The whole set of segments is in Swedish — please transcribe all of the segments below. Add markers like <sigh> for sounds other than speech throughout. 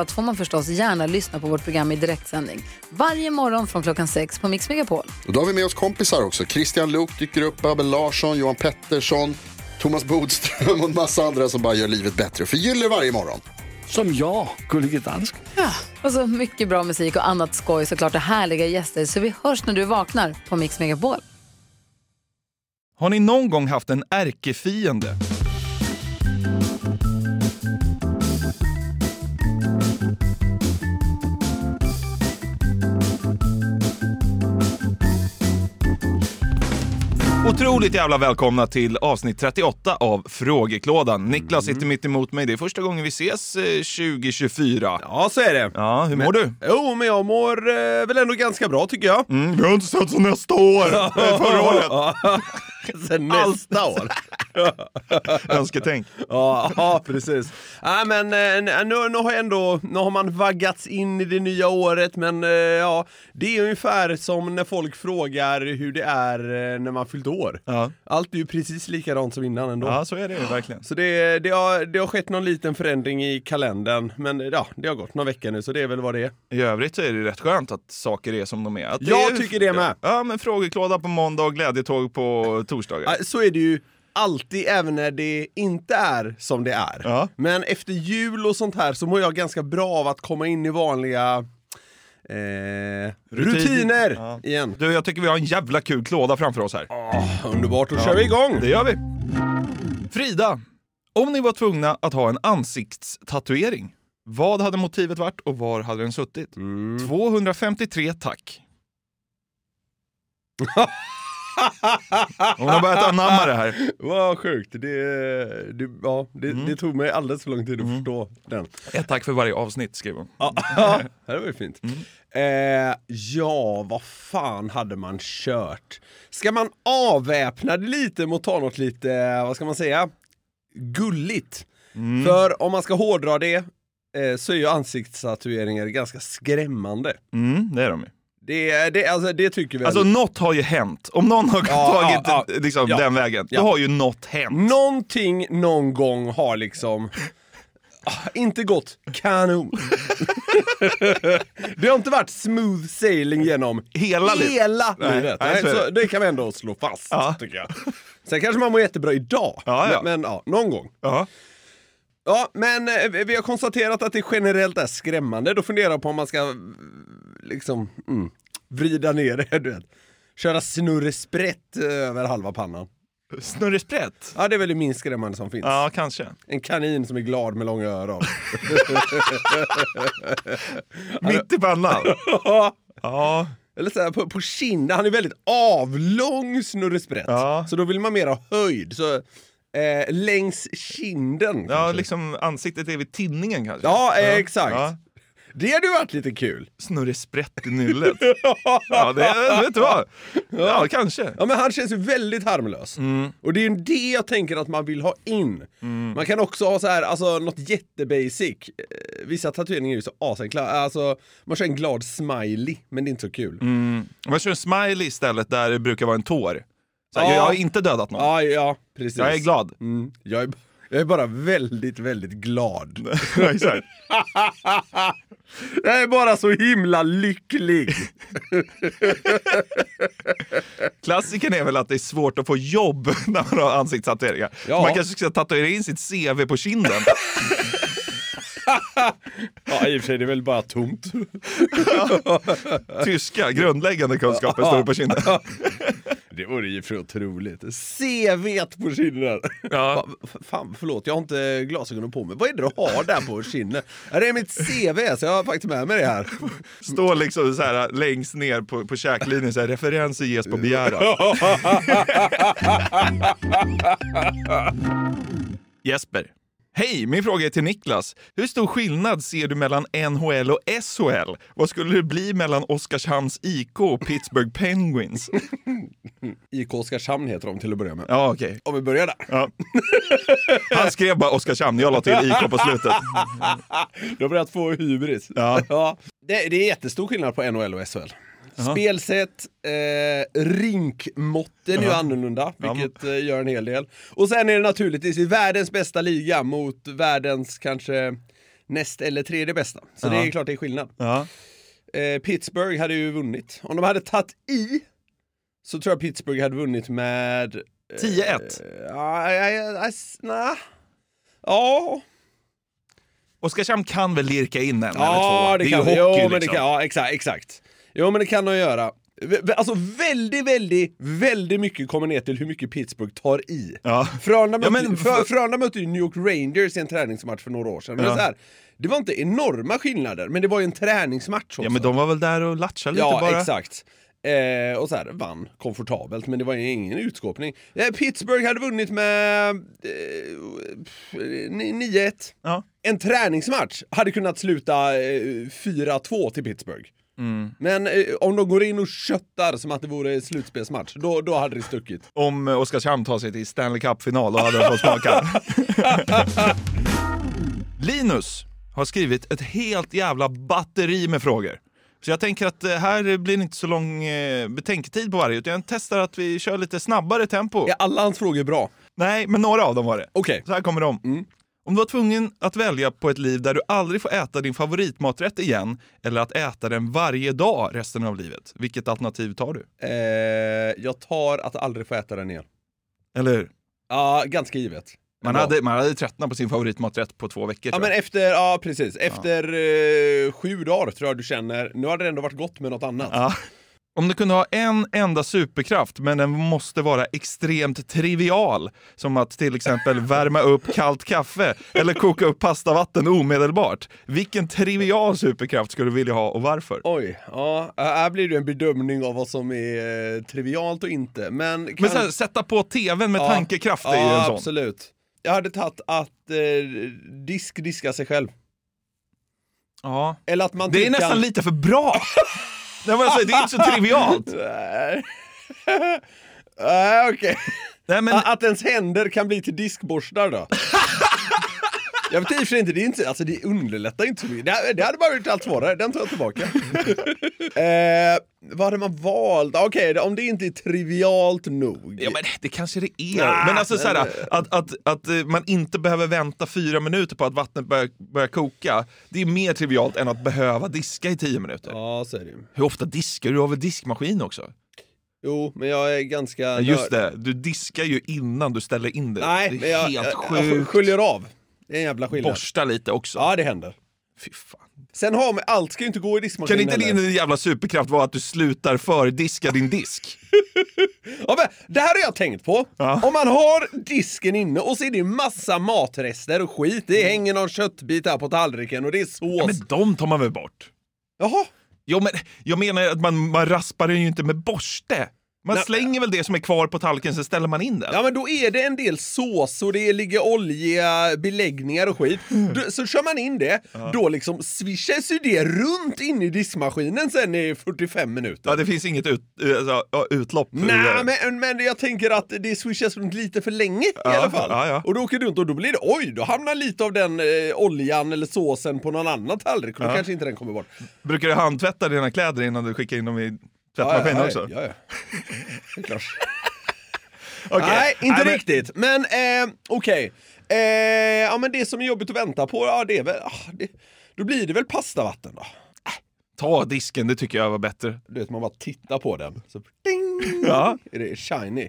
allt får man förstås gärna lyssna på vårt program i direktsändning. Varje morgon från klockan sex på Mix Megapol. Och då har vi med oss kompisar också. Christian Luuk dyker upp, Abel Larsson, Johan Pettersson, Thomas Bodström och en massa andra som bara gör livet bättre och förgyller varje morgon. Som jag, Gullige Dansken. Och så mycket bra musik och annat skoj såklart och härliga gäster. Så vi hörs när du vaknar på Mix Megapol. Har ni någon gång haft en ärkefiende? Otroligt jävla välkomna till avsnitt 38 av Frågeklådan. Niklas Mm. sitter mitt emot mig. Det är första gången vi ses eh, 2024. Ja, så är det. Ja, hur mår du? Jo, men jag mår eh, väl ändå ganska bra tycker jag. Mm, vi har inte sett så nästa år, eh, förra året. <laughs> <laughs> Sen nästa år. <laughs> Önsketänk. Ja, ja, precis. Ja, men eh, nu, nu har jag ändå, nu har man vaggats in i det nya året, men eh, ja, det är ungefär som när folk frågar hur det är eh, när man fyllt år. Ja. Allt är ju precis likadant som innan ändå. ja, så är det ju verkligen. Så det, det, har, det har skett någon liten förändring i kalendern, men eh, ja, det har gått några veckor nu, så det är väl vad det är. I övrigt så är det rätt skönt att saker är som de är. Att Jag är, tycker det med. Ja, men frågeklåda på måndag och glädjetåg på torsdagar. Ja, så är det ju alltid, även när det inte är som det är. Ja. Men efter jul och sånt här så mår jag ganska bra av att komma in i vanliga eh, rutiner Ja. igen. Du, jag tycker vi har en jävla kul klåda framför oss här. Underbart, då kör vi igång! Det gör vi. Frida, om ni var tvungna att ha en ansiktstatuering, vad hade motivet varit och var hade den suttit? 253 <laughs> tack. Hon har börjat anamma det här. Vad sjukt, det, det, ja, det, Mm. det tog mig alldeles för lång tid att förstå den. Ett tack för varje avsnitt, skriver hon. Ja, <laughs> det var ju fint. Eh, ja, vad fan hade man kört? Ska man avväpna det lite mot att ta något lite, eh, vad ska man säga, gulligt? För om man ska hårdra det eh, så är ju ansiktsstatueringar ganska skrämmande. Mm, det är de ju. Det, det, alltså, det tycker vi. Alltså något har ju hänt. Om någon har Ja, <laughs> tagit ja, ja. liksom, Ja. den vägen, Ja. då har ju något hänt. Någonting någon gång har liksom ah, inte gått kanon. <laughs> det har inte varit smooth sailing genom Hela livet. hela Nej, livet. nej, Nej, så är så det. det kan vi ändå slå fast, Ja. tycker jag. Sen kanske man mår jättebra idag, Ja, ja. Men, men ja, någon gång. <laughs> Ja. Ja, men eh, vi- vi har konstaterat att det generellt är skrämmande. Då funderar jag på om man ska mm, liksom mm, vrida ner det, <laughs> du vet. Köra snurresprätt eh, över halva pannan. Snurre Sprätt? Ja, det är väl det minst skrämmande som finns. Ja, kanske. En kanin som är glad med långa öron. <laughs> Mitt i <laughs> pannan. ja. Eller så här, på, på kinden, han är väldigt avlång Snurre Sprätt. Ja. Så då vill man mer ha höjd. Så, eh, längs kinden. ja, kanske. liksom ansiktet är vid tinningen kanske. Ja, eh, exakt. Ja. Det hade ju varit lite kul. Snurre Sprätt i <laughs> nyllet. ja, det vet du vad. Ja, kanske. Ja, men han känns ju väldigt harmlös. Och det är ju det jag tänker att man vill ha in. Man kan också ha så här, alltså något jättebasic. Eh, Vissa tatueringar är ju så asenkla. Alltså, man kör en glad smiley, men det är inte så kul. Man kör en smiley istället där det brukar vara en tår. Så här, Ja. Jag har inte dödat någon. Ja, ja, precis. Jag är glad. Mm. Jag, är, jag är bara väldigt, väldigt <laughs> glad. <laughs> Ja, exakt. Jag är bara så himla lycklig. Klassikern är väl att det är svårt att få jobb <laughs> när man har ansiktstatueringar. Ja. Man kanske ska tatuera in sitt CV på kinden. <laughs> ja, i och för sig, det är väl bara <laughs> tomt. Tyska, grundläggande kunskaper står det på kinden. Det vore ju för otroligt. CVt på kinden. Ja. Va- f- Fan, förlåt, jag har inte glasögonen på mig. Vad är det du har där på kinden? Ja, Det är mitt CV, så jag har faktiskt med mig det här. Står liksom så här längst ner på, på käklinjen, så här, referenser ges på begäran. Jesper, Hej, min fråga är till Niklas. Hur stor skillnad ser du mellan NHL och SHL? Vad skulle det bli mellan Oskarshamns IK och Pittsburgh Penguins? IK Oskarshamn heter de till att börja med. Ja, okej. Om vi börjar där. Ja. <laughs> Han skrev bara Oskarshamn, jag la till IK på <laughs> slutet. Du har börjat få hybris. <laughs> Ja. Det, det är jättestor skillnad på NHL och SHL. Spelsätt, eh, rinkmåtten är ju annorlunda, vilket eh, gör en hel del. Och sen är det naturligtvis i världens bästa liga mot världens kanske näst eller tredje bästa. Så det är klart det är skillnad. Ja. Eh, Pittsburgh hade ju vunnit. Om de hade tagit i så tror jag Pittsburgh hade vunnit med... 10-1. Ja, ja, ja, s- nja. ja, Oskarshamn kan väl lirka in en eller Ja, två? det, är kan ju jo, hockey men det liksom. kan, ja, exakt, exakt. Jo, men det kan de göra. V- v- Alltså väldigt, väldigt, väldigt mycket kommer ner till hur mycket Pittsburgh tar i. Ja. Frölunda Ja, mötte, men- Frö- Frölunda mötte ju New York Rangers i en träningsmatch för några år sedan. Men Ja. det, är så här, det var inte enorma skillnader, men det var ju en träningsmatch också. Ja, men de var väl där och latchade lite Ja, bara? exakt. Eh, och så här, vann komfortabelt, men det var ju ingen utskåpning. Eh, Pittsburgh hade vunnit med eh, pff, ni- 9-1. Ja. En träningsmatch hade kunnat sluta eh, 4-2 till Pittsburgh. Mm. Men eh, om de går in och köttar som att det vore slutspelsmatch, då, då hade det stuckit. Om eh, Oskarshamn tar sig till Stanley Cup-final, då hade de fått <laughs> smaka. Linus har skrivit ett helt jävla batteri med frågor. Så jag tänker att eh, här blir det inte så lång eh, betänketid på varje, utan jag testar att vi kör lite snabbare tempo. Är alla hans frågor bra? Nej, men några av dem var det. Okej. Så här kommer de. Om du var tvungen att välja på ett liv där du aldrig får äta din favoritmaträtt igen eller att äta den varje dag resten av livet, vilket alternativ tar du? Eh, jag tar att aldrig få äta den igen. Eller hur? Ja, ganska givet. Man Bra. hade, man hade tröttnat på sin favoritmaträtt på två veckor. Ja tror men jag. efter, ja precis, efter eh, sju dagar tror jag du känner, nu har det ändå varit gott med något annat. Ja. Om du kunde ha en enda superkraft, men den måste vara extremt trivial, som att till <laughs> exempel värma upp kallt kaffe eller koka upp pastavatten omedelbart. Vilken trivial superkraft skulle du vilja ha och varför? Oj, ja, eh, här blir det en bedömning av vad som är eh, trivialt och inte. Men, kan... Men så här, sätta på tvn med Ja. tankekraft är ju Ja, en sån. absolut. Jag hade tagit att eh, disk diskar sig själv. Ja. Eller att man Det är typ nästan kan... lite för <laughs> bra! Nej, men alltså, det är inte så trivialt. Nej. <laughs> Nej, okej. Nej, men, Att ens händer kan bli till <laughs> diskborstar då. Jag vet i och för sig inte, det, är inte, alltså det underlättar inte så mycket. Det, det hade bara gjort allt svårare, den tar <laughs> jag tillbaka. eh, vad hade man valt? Okej, om det inte är trivialt nog. ja, men det kanske det är. men alltså, så här, att, att, att eh, man inte behöver vänta fyra minuter på att vattnet börjar, börjar koka, det är mer trivialt än att behöva diska i tio minuter. Ja, så är det ju. Hur ofta diskar du? Du har väl diskmaskin också? Jo, men jag är ganska... Ja, just nörd. det, du diskar ju innan du ställer in det. Nej, det men är jag, helt jag, jag sjukt. sköljer av. Det är en jävla skillnad. Borsta lite också. Ja, det händer. Fy fan. Sen har man, allt ska ju inte gå i Kan diskmaskinen inte heller. din jävla superkraft vara att du slutar fördiska din disk? Ja, men, det här har jag tänkt på. Ja. Om man har disken inne och så är det massa matrester och skit. Det hänger någon köttbit här på tallriken och det är sås. Men de tar man väl bort? Jaha. Jo, men jag menar att man, man raspar den ju inte med borste. Man Nej. slänger väl det som är kvar på tallriken, sen ställer man in den. Ja men då är det en del sås och det ligger oljiga beläggningar och skit. Då, så kör man in det, då liksom swishas ju det runt in i diskmaskinen sen i 45 minuter. Ja, det finns inget ut, eh, alltså, ja, utlopp. ur det. Nej, men, men jag tänker att det swishas runt lite för länge Ja, i alla fall. ja, ja. Och då åker du runt och då blir det oj, då hamnar lite av den eh, oljan eller såsen på någon annan tallrik och då kanske inte den kommer bort. Brukar du handtvätta dina kläder innan du skickar in dem i tvättmaskinen också? ja, ja. Det är klart. <laughs> Okej. Nej, inte men- riktigt. Men eh, okej. Eh, ja, men det som är jobbigt att vänta på, ja det är väl... Ah, det, då blir det väl pastavatten då. Ta disken, det tycker jag var bättre. Du vet, man bara tittar på den. Så ding! Ja. Är det shiny?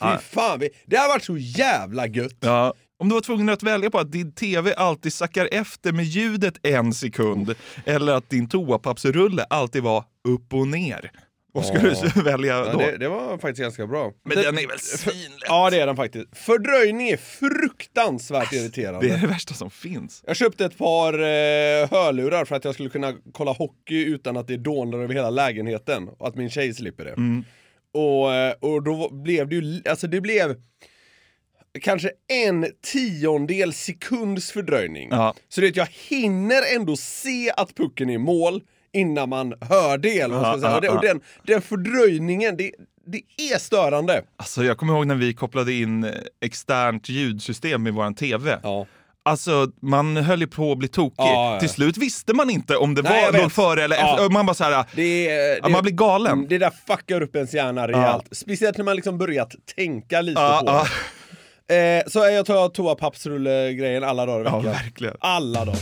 Ja. Fy fan, vi- det har varit så jävla gött. Ja. Om du var tvungen att välja på att din TV alltid sackar efter med ljudet en sekund eller att din toapappsrulle alltid var upp och ner. Vad skulle du <laughs> välja Ja, då? det, det var faktiskt ganska bra. Men den är väl svinlätt? Ja, det är den faktiskt. Fördröjning är fruktansvärt irriterande. Det är det värsta som finns. Jag köpte ett par eh, hörlurar för att jag skulle kunna kolla hockey utan att det dånar över hela lägenheten och att min Mm. tjej slipper det. Och, eh, och då blev det ju, alltså det blev kanske en tiondel sekunds fördröjning. Ja. Så det är att jag hinner ändå se att pucken är i mål innan man hör det. Eller vad man ska Ja, säga. ja, Och det- och ja. den, den fördröjningen, det, det är störande. Alltså, jag kommer ihåg när vi kopplade in eh, externt ljudsystem i vår TV. Alltså, man höll ju på att bli tokig. Ja, ja. Till slut visste man inte om det Nej, jag var vet. låg före eller Ja. efter. Man bara så här, Det, är- eh, Ja, det, man blir galen. Mm, Det där fuckar upp ens hjärna rejält. Speciellt när man liksom börjat tänka lite Ja, på det. Eh, så jag tar toapappsrulle-grejen alla dagar i ja, veckan. verkligen. alla dagar.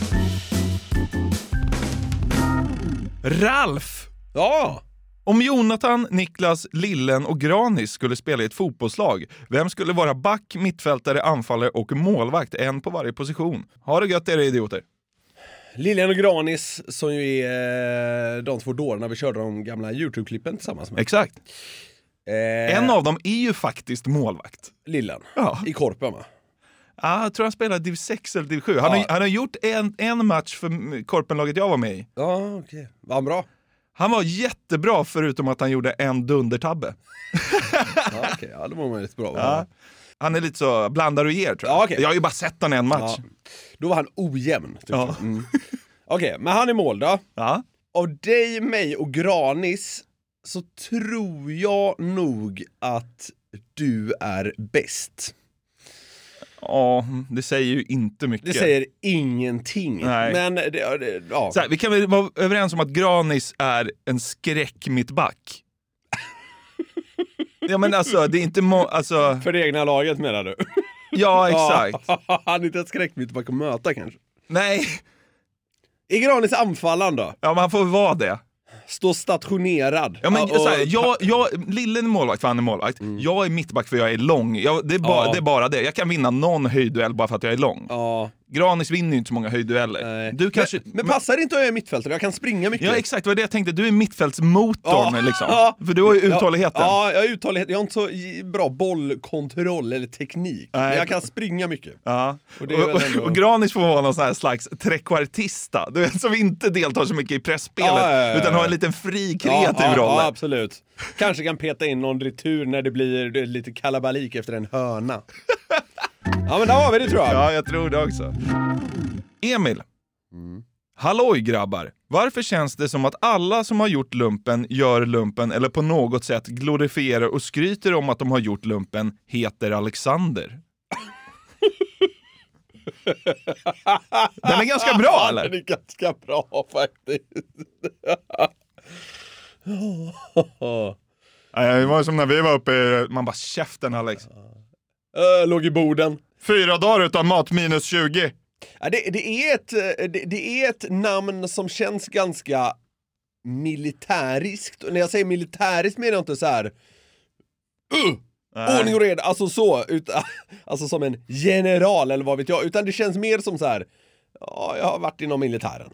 Ralf! Ja! Om Jonathan, Niklas, Lillen och Granis skulle spela i ett fotbollslag, vem skulle vara back, mittfältare, anfallare och målvakt? En på varje position. Ha det gött era idioter. Lilian och Granis som ju är eh, de två dårarna vi körde de gamla YouTube-klippen tillsammans med. Exakt. Eh, En av dem är ju faktiskt målvakt. Lillan. Ja. I Korpen va? Ah, jag tror han spelar div 6 eller div 7. Han, Ja. har, han har gjort en, en match för mm, korpenlaget jag var med i. Ja, okej. Var han bra? Han var jättebra förutom att han gjorde en dundertabbe. Ja, <laughs> okej. ja då var man lite bra. va? Ja. Han är lite så blandar och ger tror jag. Ja, okej. Jag har ju bara sett han en match. Ja. Då var han ojämn. tyckte Ja. jag. Mm. Okej, men han är mål då. Ja. Av dig, mig och Granis så tror jag nog att du är bäst. Ja, det säger ju inte mycket. Det säger ingenting. Nej. Men det, det, ja. Så här, vi kan väl vara överens om att Granis är en skräck mittback. ja men alltså, det är inte må- alltså, För det egna laget menar du? ja <laughs> exakt. han är inte ett skräckmittback att möta kanske. Nej, I Granis anfallan då? ja men han får väl vara det. Stå stationerad. Ja, men, och- Mm. så här, jag, jag, Lillen är målvakt för han är målvakt. Jag är mittback för jag är lång. Jag, det, är bara, Ja. det är bara det. Jag kan vinna någon höjdduell bara för att jag är lång. Ja, Granis vinner ju inte så många höjddueller. nej. Du kanske... men, men passar det inte att jag är mittfältare? Jag kan springa mycket. Ja exakt, det var det jag tänkte. Du är mittfältsmotorn Ja. liksom. Ja. För du har ju uthålligheten. Ja, jag har uthållighet. Jag har inte så i- bra bollkontroll eller teknik. Men Nej. jag kan springa mycket. Ja. Och Och, det är väl och, ändå- och Granis får vara någon sån här slags trekvartista, du vet, som inte deltar så mycket i pressspelet Ja, ja, ja, ja. utan har en liten fri kreativ ja, roll. Ja, där. absolut. Kanske kan peta in någon retur när det blir det är lite kalabalik efter en <laughs> hörna. Ja, men där har vi det tror jag. Ja, jag tror det också. Emil. Halloj grabbar! Varför känns det som att alla som har gjort lumpen gör lumpen eller på något sätt glorifierar och skryter om att de har gjort lumpen heter Alexander? Den är ganska bra eller? Det är ganska bra faktiskt. <laughs> <laughs> Nej, Det var som när vi var uppe i... Man bara käften Alex. Ö, Eh, låg i borden. Fyra dagar utan mat minus 20. Ja, det, det, är ett, eh, det, det är ett namn som känns ganska militäriskt. Och när jag säger militäriskt menar jag inte så här "Uh, ordning och reda, alltså så, utan, <laughs> alltså som en general eller vad vet jag, utan det känns mer som så här. ja, jag har varit inom militären.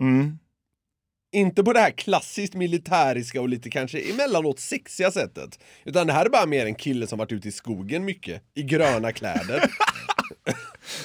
Mm. Inte på det här klassiskt militäriska och lite kanske emellanåt sexiga sättet. Utan det här är bara mer en kille som varit ute i skogen mycket, i <laughs> gröna kläder.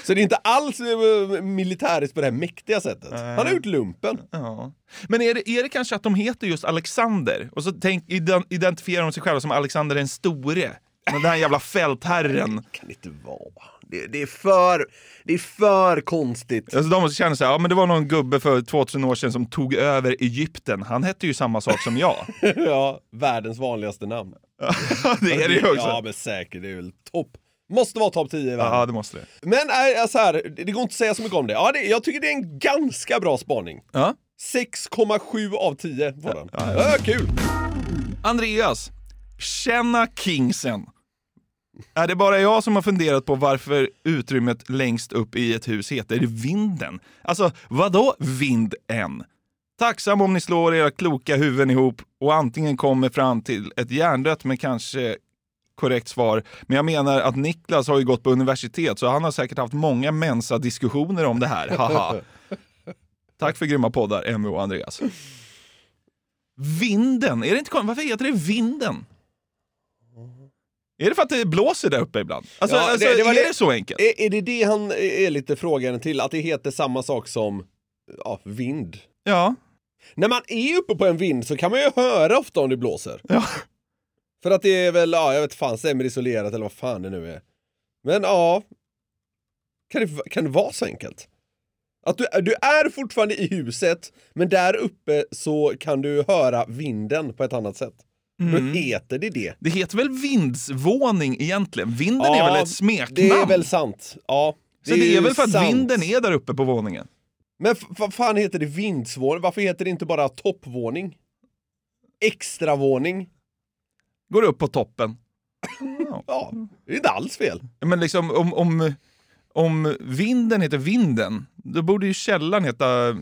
Så det är inte alls eh, militäriskt på det här mäktiga sättet. Han har gjort lumpen. Ja. Men är det, är det kanske att de heter just Alexander och så tänk, ident- identifierar de sig själva som Alexander den store? Den där jävla fältherren. Kan det inte vara. Det, det, är för, det är för konstigt. Alltså de känner så här, ja men det var någon gubbe för 2000 år sedan som tog över Egypten. Han hette ju samma sak som <laughs> jag. <laughs> Ja, världens vanligaste namn. det är det ju Ja, också. men säkert. Det är väl topp. Måste vara topp 10 i världen. Ja, det måste det. Men nej, alltså här, det det går inte att säga så mycket om det. Ja, det. Jag tycker det är en ganska bra spaning. Ja. 6,7 av 10 var den. Ja, kul! Andreas, känna kingsen. Är det bara jag som har funderat på varför utrymmet längst upp i ett hus heter vinden? Alltså, vadå vinden? Tacksam om ni slår era kloka huvuden ihop och antingen kommer fram till ett hjärndött men kanske korrekt svar. Men jag menar att Niklas har ju gått på universitet så han har säkert haft många mensa-diskussioner om det här. <laughs> Haha. Tack för grymma poddar, Emmy och Andreas. Vinden, är det inte kon- Varför heter det vinden? Är det för att det blåser där uppe ibland? Alltså, Ja, det- alltså det var är det- det, så enkelt? Är, är det det han är lite frågande till? Att det heter samma sak som ja, vind? Ja. När man är uppe på en vind så kan man ju höra ofta om det blåser. ja. För att det är väl, ja, jag vet fan, sämre isolerat eller vad fan det nu är. Men ja, kan det, kan det vara så enkelt? Att du, du är fortfarande i huset, men där uppe så kan du höra vinden på ett annat sätt. Då heter det det. Det heter väl vindsvåning egentligen? Vinden Ja, är väl ett smeknamn? Det är väl sant. Ja, så det är väl för att sant. vinden är där uppe på våningen? Men f- vad fan heter det vindsvåning? Varför heter det inte bara toppvåning? Extravåning? Går upp på toppen. Ja, det är inte alls fel. Men liksom om, om, om vinden heter vinden, då borde ju källaren heta eh,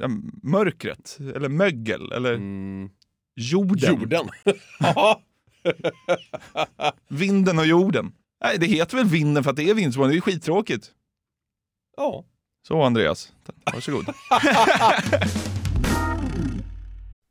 ja, mörkret, eller mögel, eller Mm. jorden. Jorden. <laughs> Ja. Vinden och jorden. Nej, det heter väl vinden för att det är vindsvåning, det är ju skittråkigt. ja. Så Andreas, <laughs> varsågod.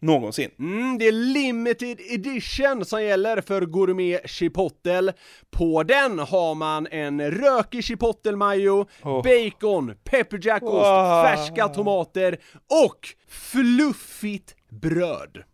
någonsin. Mm, det är limited edition som gäller för gourmet chipotle. På den har man en rökig chipotle-majo, Oh. bacon, pepperjackost, Wow. färska tomater och fluffigt bröd.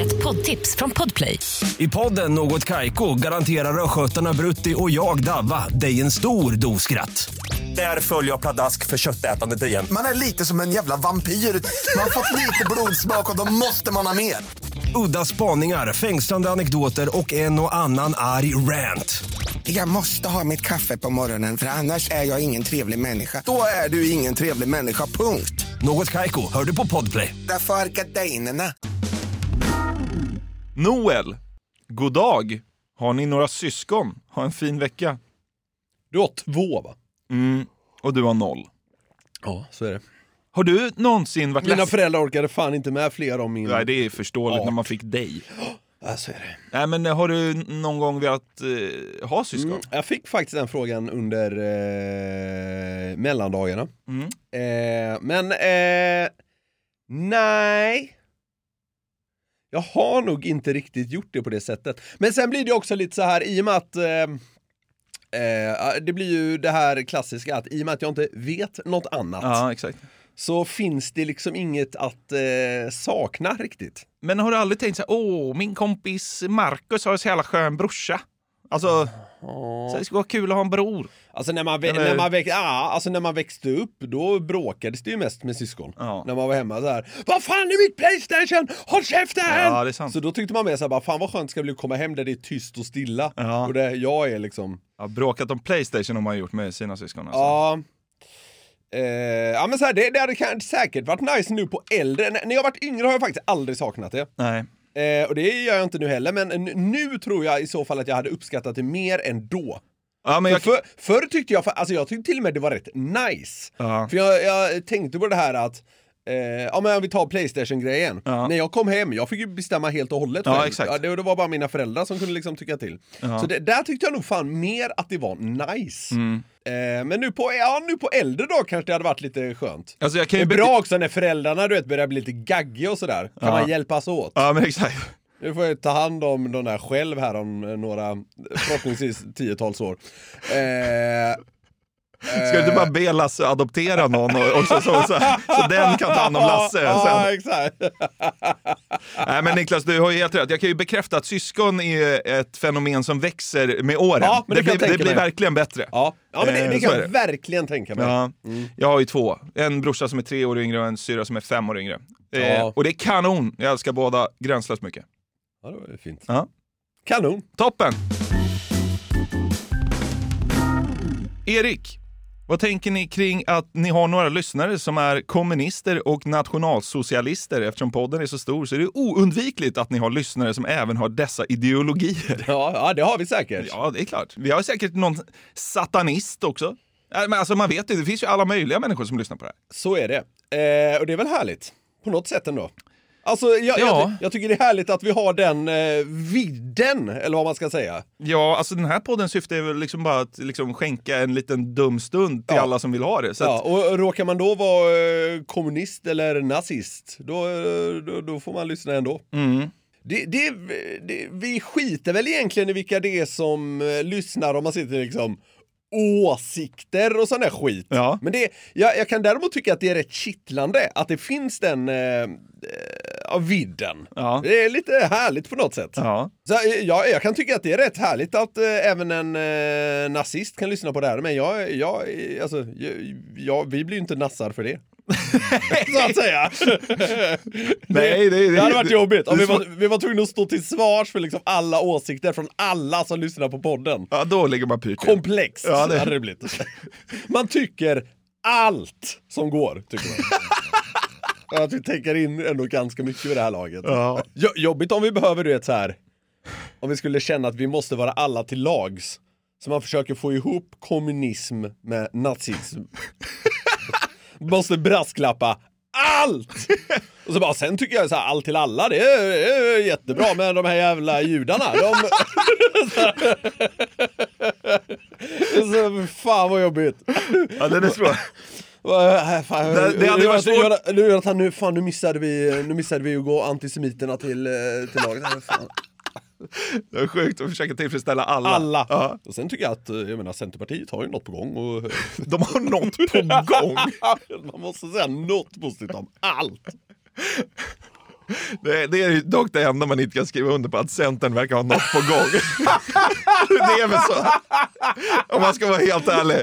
Ett poddtips från Podplay. I podden Något Kaiko garanterar östgötarna Brutti och jag, Davva, dig en stor dos skratt. Där följer jag pladask för köttätandet igen. Man är lite som en jävla vampyr. Man har fått lite blodsmak och då måste man ha mer. Udda spaningar, fängslande anekdoter och en och annan arg rant. Jag måste ha mitt kaffe på morgonen för annars är jag ingen trevlig människa. Då är du ingen trevlig människa, punkt. Något Kaiko, hör du på Podplay. Därför är gardinerna. Noel, god dag. Har ni några syskon? Ha en fin vecka. Du har två va? Mm. Och du har noll. Ja, så är det. Har du någonsin varit Mina ledsen? föräldrar orkade fan inte med fler om min... Nej, det är förståeligt Ja. när man fick dig. Ja, så är det. Nej, men eh, har du någon gång velat eh, ha syskon? Mm, jag fick faktiskt den frågan under eh, mellandagarna. Mm. Eh, men eh, nej. Jag har nog inte riktigt gjort det på det sättet. Men sen blir det också lite så här i och med att eh, eh, det blir ju det här klassiska att i och med att jag inte vet något annat Ja, exakt. så finns det liksom inget att eh, sakna riktigt. Men har du aldrig tänkt så här, åh, min kompis Marcus har en så jävla skön brorsa? Alltså, så det skulle vara kul att ha en bror. Alltså när man, vä- Eller- när, man väx- ah, alltså när man växte upp, då bråkades det ju mest med syskon. Ja. När man var hemma så här. Vad fan är mitt Playstation? Håll käften! Ja, det är sant. Så då tyckte man mer såhär, fan vad skönt det ska bli att komma hem där det är tyst och stilla. Ja. Och där jag är liksom, Ja, bråkat om Playstation har man gjort med sina syskon. Alltså. ja. Eh, ja men så här, det, det hade kan- säkert varit nice nu på äldre, N- när jag varit yngre har jag faktiskt aldrig saknat det. Nej. Eh, och det gör jag inte nu heller, men n- nu tror jag i så fall att jag hade uppskattat det mer än då. Ja, men jag... För, förr tyckte jag, alltså jag tyckte till och med det var rätt nice. Ja. För jag, jag tänkte på det här att, eh, ja men om vi tar Playstation-grejen. Ja. När jag kom hem, jag fick ju bestämma helt och hållet Ja, själv. exakt. det, det var bara mina föräldrar som kunde liksom tycka till. Så det, där tyckte jag nog fan mer att det var nice. Mm. Eh, men nu på, ja, nu på äldre dag kanske det hade varit lite skönt. Alltså, jag kan det ju är bra också när föräldrarna du vet, börjar bli lite gaggiga och sådär. Kan man hjälpas åt? Ja, men exakt. Nu får jag ta hand om de där själv här om några, förhoppningsvis tiotals år. Eh, Ska du inte bara be Lasse adoptera någon och, och så, så, så, så den kan ta hand om Lasse sen? Ja, exakt. Nej men Niklas, du har ju helt rätt. Jag kan ju bekräfta att syskon är ett fenomen som växer med åren. Ja, men det kan jag blir, det tänka blir mig. verkligen bättre. Ja, Mm. Ja, men det, Eh, det så kan är jag verkligen tänka mig. Ja. Jag har ju två. En brorsa som är tre år yngre och en syra som är fem år yngre. Eh, Ja. Och det är kanon. Jag älskar båda gränslöst mycket. Ja, det var ju fint. Ja. Kanon. Toppen! Erik, vad tänker ni kring att ni har några lyssnare som är kommunister och nationalsocialister? Eftersom podden är så stor så är det oundvikligt att ni har lyssnare som även har dessa ideologier. Ja, ja det har vi säkert. Ja, det är klart. Vi har säkert någon satanist också. Äh, Men alltså man vet ju, det finns ju alla möjliga människor som lyssnar på det här. Så är det. Eh, och det är väl härligt. På något sätt ändå. Alltså, jag, jag, Ja. ty- jag tycker det är härligt att vi har den eh, vidden, eller vad man ska säga. Ja, alltså den här poddens syfte är väl liksom bara att liksom skänka en liten dum stund till Ja. alla som vill ha det. Så Ja, att, och råkar man då vara eh, kommunist eller nazist, då, eh, då, då får man lyssna ändå. mm. Det, det, det, vi skiter väl egentligen i vilka det är som eh, lyssnar om man sitter liksom åsikter och sån där skit. Ja. Men det, jag, jag kan däremot tycka att det är rätt kittlande att det finns den eh, eh, ja, vidden. Ja. Det är lite härligt på något sätt. Ja. Så, eh, jag, jag kan tycka att det är rätt härligt att eh, även en eh, nazist kan lyssna på det här, men jag, jag, eh, alltså, jag, jag, vi blir ju inte nassar <laughs> för det. så att säga. Nej, det, Det hade varit jobbigt om det vi är var, vi var tvungna att stå till svars för liksom alla åsikter från alla som lyssnar på podden. Ja, då ligger man pyrt till. Komplext Ja, det- hade det blivit. Man tycker allt som går, tycker man. Att vi tänker in ändå ganska mycket vid det här laget. Ja. Jo- Jobbigt om vi behöver, du vet så här. om vi skulle känna att vi måste vara alla till lags. Så man försöker få ihop kommunism med nazism. <laughs> måste brasklappa allt! Och så bara, sen tycker jag så här, allt till alla, det är, det är jättebra, men de här jävla judarna, de... <laughs> så, fan vad jobbigt. Ja, den är svår. <laughs> Vad- Fan, Det- det hade varit Jonathan, svårt. Jonathan, nu, Jonathan, nu, fan, nu missade vi, nu missade vi att gå antisemiterna till, eh, till laget. här, Fan. Det är sjukt att försöka tillfredsställa alla. <laughs> Alla! Ja. Och sen tycker jag att, eh, jag menar Centerpartiet har ju något på gång <laughs> och... De har något <laughs> på gång. Man måste säga något positivt om allt! Det, det är ju dock det enda man inte kan skriva under på, att Centern verkar ha något på gång. <laughs> det är väl så. Om man ska vara helt ärlig.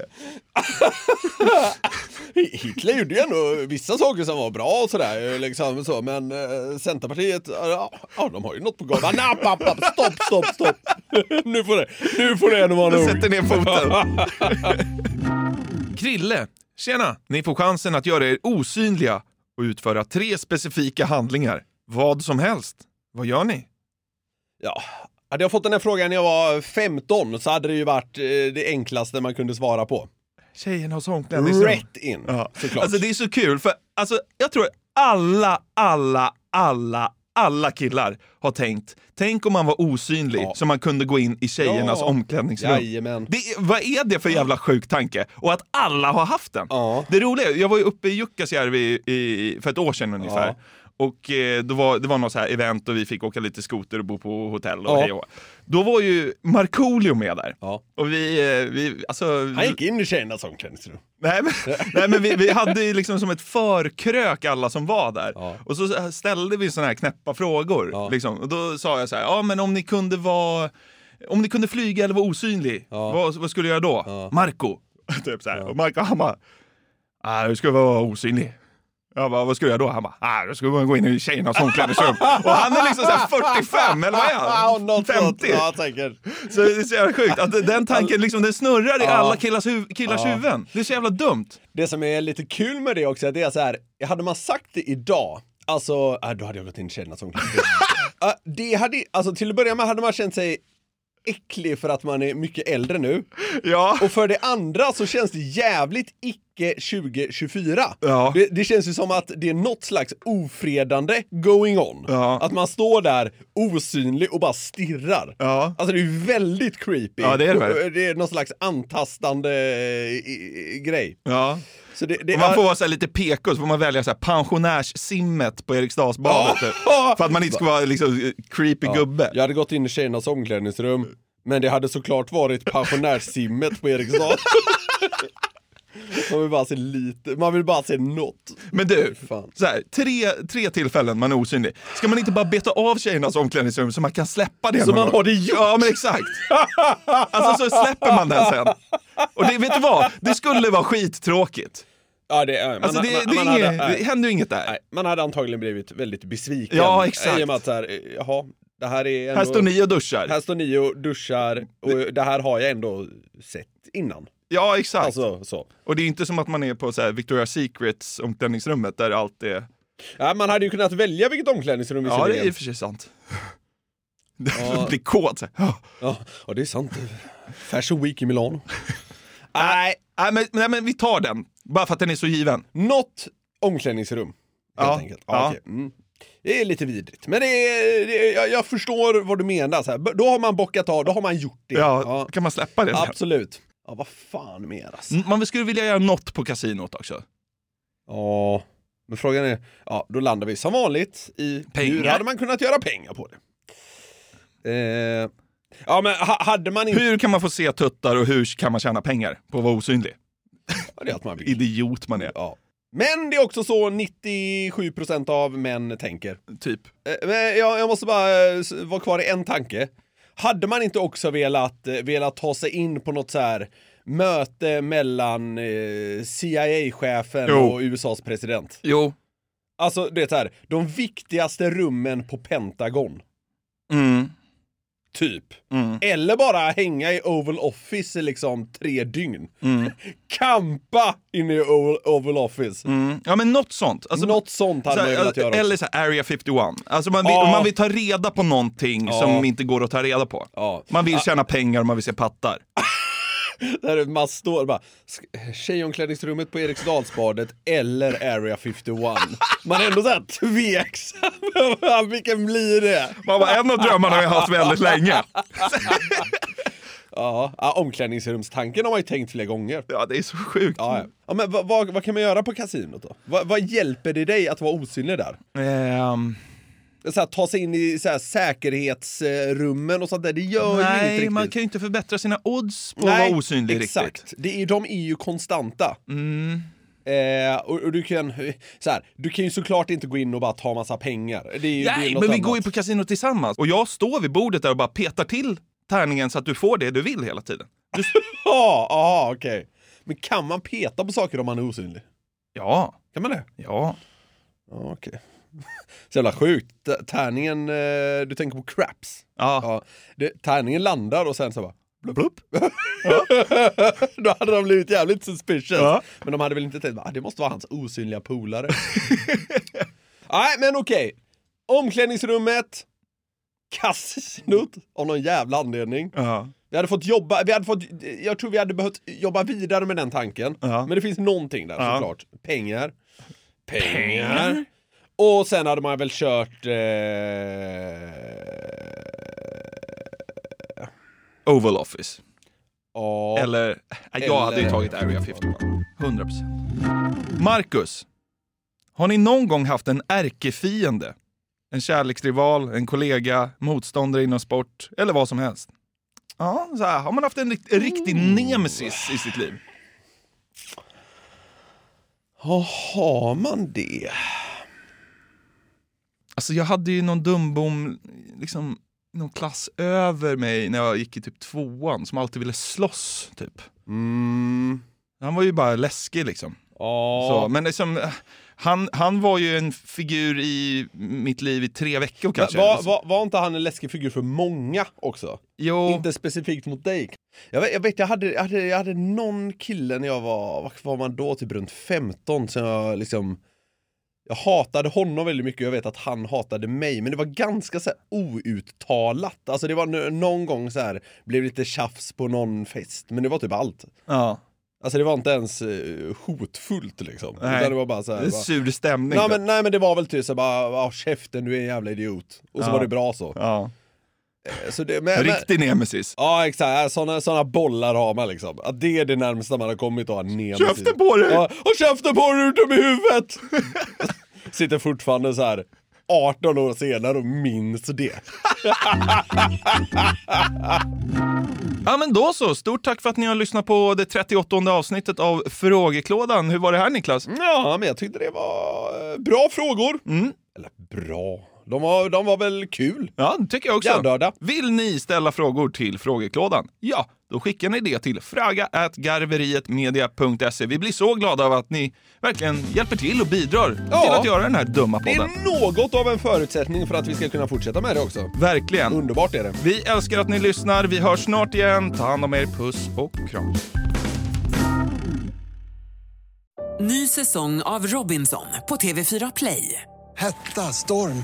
Hitler gjorde ju ändå vissa saker som var bra och sådär, eh, liksom så, men eh, Centerpartiet, ja, ja, de har ju något på gång. Men, app, app, app, Stopp, stopp, stopp! <laughs> Nu får det, nu får det ändå vara Jag nog. sätter ner <laughs> foten. Krille, tjena! Ni får chansen att göra er osynliga och utföra tre specifika handlingar. Vad som helst. Vad gör ni? Ja. Hade jag fått den här frågan när jag var 15 så hade det ju varit eh, det enklaste man kunde svara på. Tjejen har sångklädning. Rätt in, Ja. såklart. Alltså det är så kul, för alltså, jag tror alla, alla, alla, alla killar har tänkt, tänk om man var osynlig Ja. så man kunde gå in i tjejernas Ja. omklädningsrum. Jajamän. Det, är- vad är det för jävla sjuk tanke? Och att alla har haft den. Ja. Det roliga, är, jag var ju uppe i Jukkasjärvi i, för ett år sedan ungefär. Och eh, då var, det var något så här event och vi fick åka lite skoter och bo på hotell och Ja. hej och hå. Då var ju Markoolio med där. Ja. Och vi, eh, vi alltså... Han gick in i tjejernas omklädningsrum. Nej men, <laughs> nej, men vi, vi hade ju liksom som ett förkrök alla som var där. Ja. Och så ställde vi såna här knäppa frågor. Ja. Liksom. Och då sa jag så här, ja men om ni kunde vara, om ni kunde flyga eller vara osynlig, vad, vad skulle jag göra då? Marco, <laughs> typ så här. Och Marco han bara, ah, du skulle vara osynlig. Jag bara, vad skulle jag då? Han bara, ah, då skulle man gå in i tjejernas <laughs> omklädningsrum. Och han är liksom så här 45, eller vad är Ja, han? något sånt. 50? Ja, säkert. Så det är så jävla sjukt att den tanken liksom, den snurrar i alla killars, huv- killars huvuden. Det är så jävla dumt. Det som är lite kul med det också, det är så här, hade man sagt det idag, alltså, äh, då hade jag gått in i tjejernas <laughs> omklädningsrum. Äh, det hade, alltså till att börja med hade man känt sig äcklig för att man är mycket äldre nu. Ja. Och för det andra så känns det jävligt icke 2024. Ja. Det, det känns ju som att det är något slags ofredande going on. Ja. Att man står där osynlig och bara stirrar. Ja. Alltså det är ju väldigt creepy. Ja, det är det väl. Och det är någon slags antastande eh, i- i- grej. ja. Så det, det Och man är- får vara så här lite PK, så får man välja så här pensionärssimmet på Eriksdalsbadet. typ. För att man inte ska vara liksom eh, creepy gubbe. Jag hade gått in i <laughs> tjejernas omklädningsrum, men det hade såklart varit pensionärssimmet på Eriksdal. Man vill bara se lite, man vill bara se något. Men du, så här, tre, tre tillfällen man är osynlig. Ska man inte bara beta av tjejernas omklädningsrum så man kan släppa det? Så någon man gång? har det gjort. Ja, men exakt. Alltså så släpper man den sen. Och det, vet du vad? Det skulle vara skittråkigt. Ja, det, man, Alltså, det- man, det är man hade- inget- nej. det händer ju inget där. Nej, man hade antagligen blivit väldigt besviken. Ja, exakt. I och med att så här, eh, jaha, det här är ändå, Här står ni och duschar. Här står ni och duschar och det här har jag ändå sett innan. Ja, exakt. Alltså, så. Och det är inte som att man är på så här Victoria's Secrets omklädningsrummet där allt är... Ja, man hade ju kunnat välja vilket omklädningsrum vi Ja, det är i och för sig <laughs> sant. Ja. Blir kåt så här. Ja, ja, det är sant. Fashion Week i Milano. Nej, nej, men, nej, men vi tar den. Bara för att den är så given. Något omklädningsrum, helt Ja, enkelt. ja. okej. Mm. Det är lite vidrigt, men det är, det är, jag, jag förstår vad du menar. Så här. B- Då har man bockat av, då har man gjort det. Ja, kan man släppa det? sen? Absolut. Ja, vad fan mer alltså. Mm, Man skulle vilja göra något på kasinot också. Ja, men frågan är, ja, då landar vi som vanligt i hur Pengar. hade man kunnat göra pengar på det? Eh, ja, men ha, hade man inte... Hur kan man få se tuttar och hur kan man tjäna pengar på att vara osynlig? Ja, det är allt man vill. Idiot man är. Ja. Men det är också så 97% av män tänker. Typ. Eh, Men jag, jag måste bara eh, s- vara kvar i en tanke. Hade man inte också velat, eh, velat ta sig in på något så här möte mellan eh, CIA-chefen Jo. och USAs president? Jo. Alltså, det är så här, de viktigaste rummen på Pentagon, Mm. typ. Mm. Eller bara hänga i Oval Office i liksom tre dygn. Mm. <laughs> Kampa inne i Oval, Oval Office. Mm. Ja, men något sånt. Alltså, Något sånt hade så man ju här, velat göra också. eller så här, Area 51. Alltså man vill, Ja. man vill ta reda på någonting Ja. som inte går att ta reda på. Ja. Man vill tjäna pengar och man vill se pattar. Där man står och bara, "Sk- tjejomklädningsrummet på Eriksdalsbadet eller Area 51. Man är ändå såhär tveksam, <laughs> Bara, vilken blir det? Man bara, en av drömmarna har jag haft väldigt länge. Ja, ja, omklädningsrumstanken har man ju tänkt flera gånger. Ja, det är så sjukt. Ja, Mm. ja. ja men vad, vad, vad kan man göra på kasinot då? Vad, vad hjälper det dig att vara osynlig där? Ehm, Så här, ta sig in i så här, säkerhetsrummen och sånt där, det gör ju inte nej, riktigt. man kan ju inte förbättra sina odds på att vara osynlig exakt. riktigt. Mm. Det är, de är ju konstanta. Eh, och, och du kan så här, du kan ju såklart inte gå in och bara ta massa pengar. Det är ju, det är Nej, något men vi annat. går ju på kasino tillsammans. Och jag står vid bordet där och bara petar till tärningen så att du får det du vill hela tiden. Du... Ja, aha, okej. Men kan man peta på saker om man är osynlig? Ja, Kan man det? ja. Ja, okej. <laughs> Så jävla sjukt. T- Tärningen, eh, du tänker på craps. ja. Ja, det, tärningen landar och sen så bara blupp, blupp. <laughs> Då hade de blivit jävligt suspicious. Ja. Men de hade väl inte tänkt, ah, det måste vara hans osynliga polare. <laughs> Nej, men okej. Omklädningsrummet, kasinot, av någon jävla anledning. ja. Vi hade fått jobba, vi hade fått, jag tror vi hade behövt jobba vidare med den tanken. Ja. Men det finns någonting där Ja. såklart. Pengar. Pengar. Och sen hade man väl kört... Eh... Oval Office. Ja. Eller, jag hade ju Eller- tagit Area 51. 100%. Marcus, har ni någon gång haft en ärkefiende? En kärleksrival, en kollega, motståndare inom sport eller vad som helst? Ja, så här, har man haft en rikt- en riktig nemesis i sitt liv? Ja, har man det? Alltså jag hade ju någon dumbom, liksom någon klass över mig när jag gick i typ tvåan som alltid ville slåss typ. Mm. Han var ju bara läskig liksom. Ja. Så, men liksom, eh, han, han var ju en figur i mitt liv i tre veckor kanske. Var, var, var inte han en läskig figur för många också? jo, Inte specifikt mot dig. Jag vet, jag, vet jag, hade, jag, hade, jag hade någon kille när jag var, vad var man då, typ runt 15 som jag liksom jag hatade honom väldigt mycket och jag vet att han hatade mig, men det var ganska så här outtalat. Alltså det var n- någon gång så här blev lite tjafs på någon fest, men det var typ allt. ja, Alltså det var inte ens eh, hotfullt liksom. Nej. Utan det var bara så här, det är bara, sur stämning. nej, då. men, nej men det var väl typ så här, bara, "Ah, käften du är en jävla idiot. Och så Ja. var det bra så. ja. så det, men, men, Riktig nemesis. Ja exakt, sådana såna bollar har man liksom. Att det är det närmsta man har kommit att ha en nemesis. Käften på dig! Ja, och käften på dig, du är dum i <laughs> huvudet! Sitter fortfarande så här 18 år senare och minns det. Ja men då så, stort tack för att ni har lyssnat på det 38 avsnittet av Frågeklådan. Hur var det här Niklas? Ja, men jag tyckte det var eh, bra frågor. Eller bra. De var, de var väl kul? Ja, det tycker jag också. Hjärndörda. Vill ni ställa frågor till Frågeklådan? Ja, då skickar ni det till fraga.garverietmedia.se. Vi blir så glada av att ni verkligen hjälper till och bidrar till att göra den här dumma Det podden. är något av en förutsättning för att vi ska kunna fortsätta med det också. Verkligen. Underbart är det. Vi älskar att ni lyssnar. Vi hörs snart igen. Ta hand om er. Puss och kram. Ny säsong av Robinson på TV4 Play. Hetta, storm,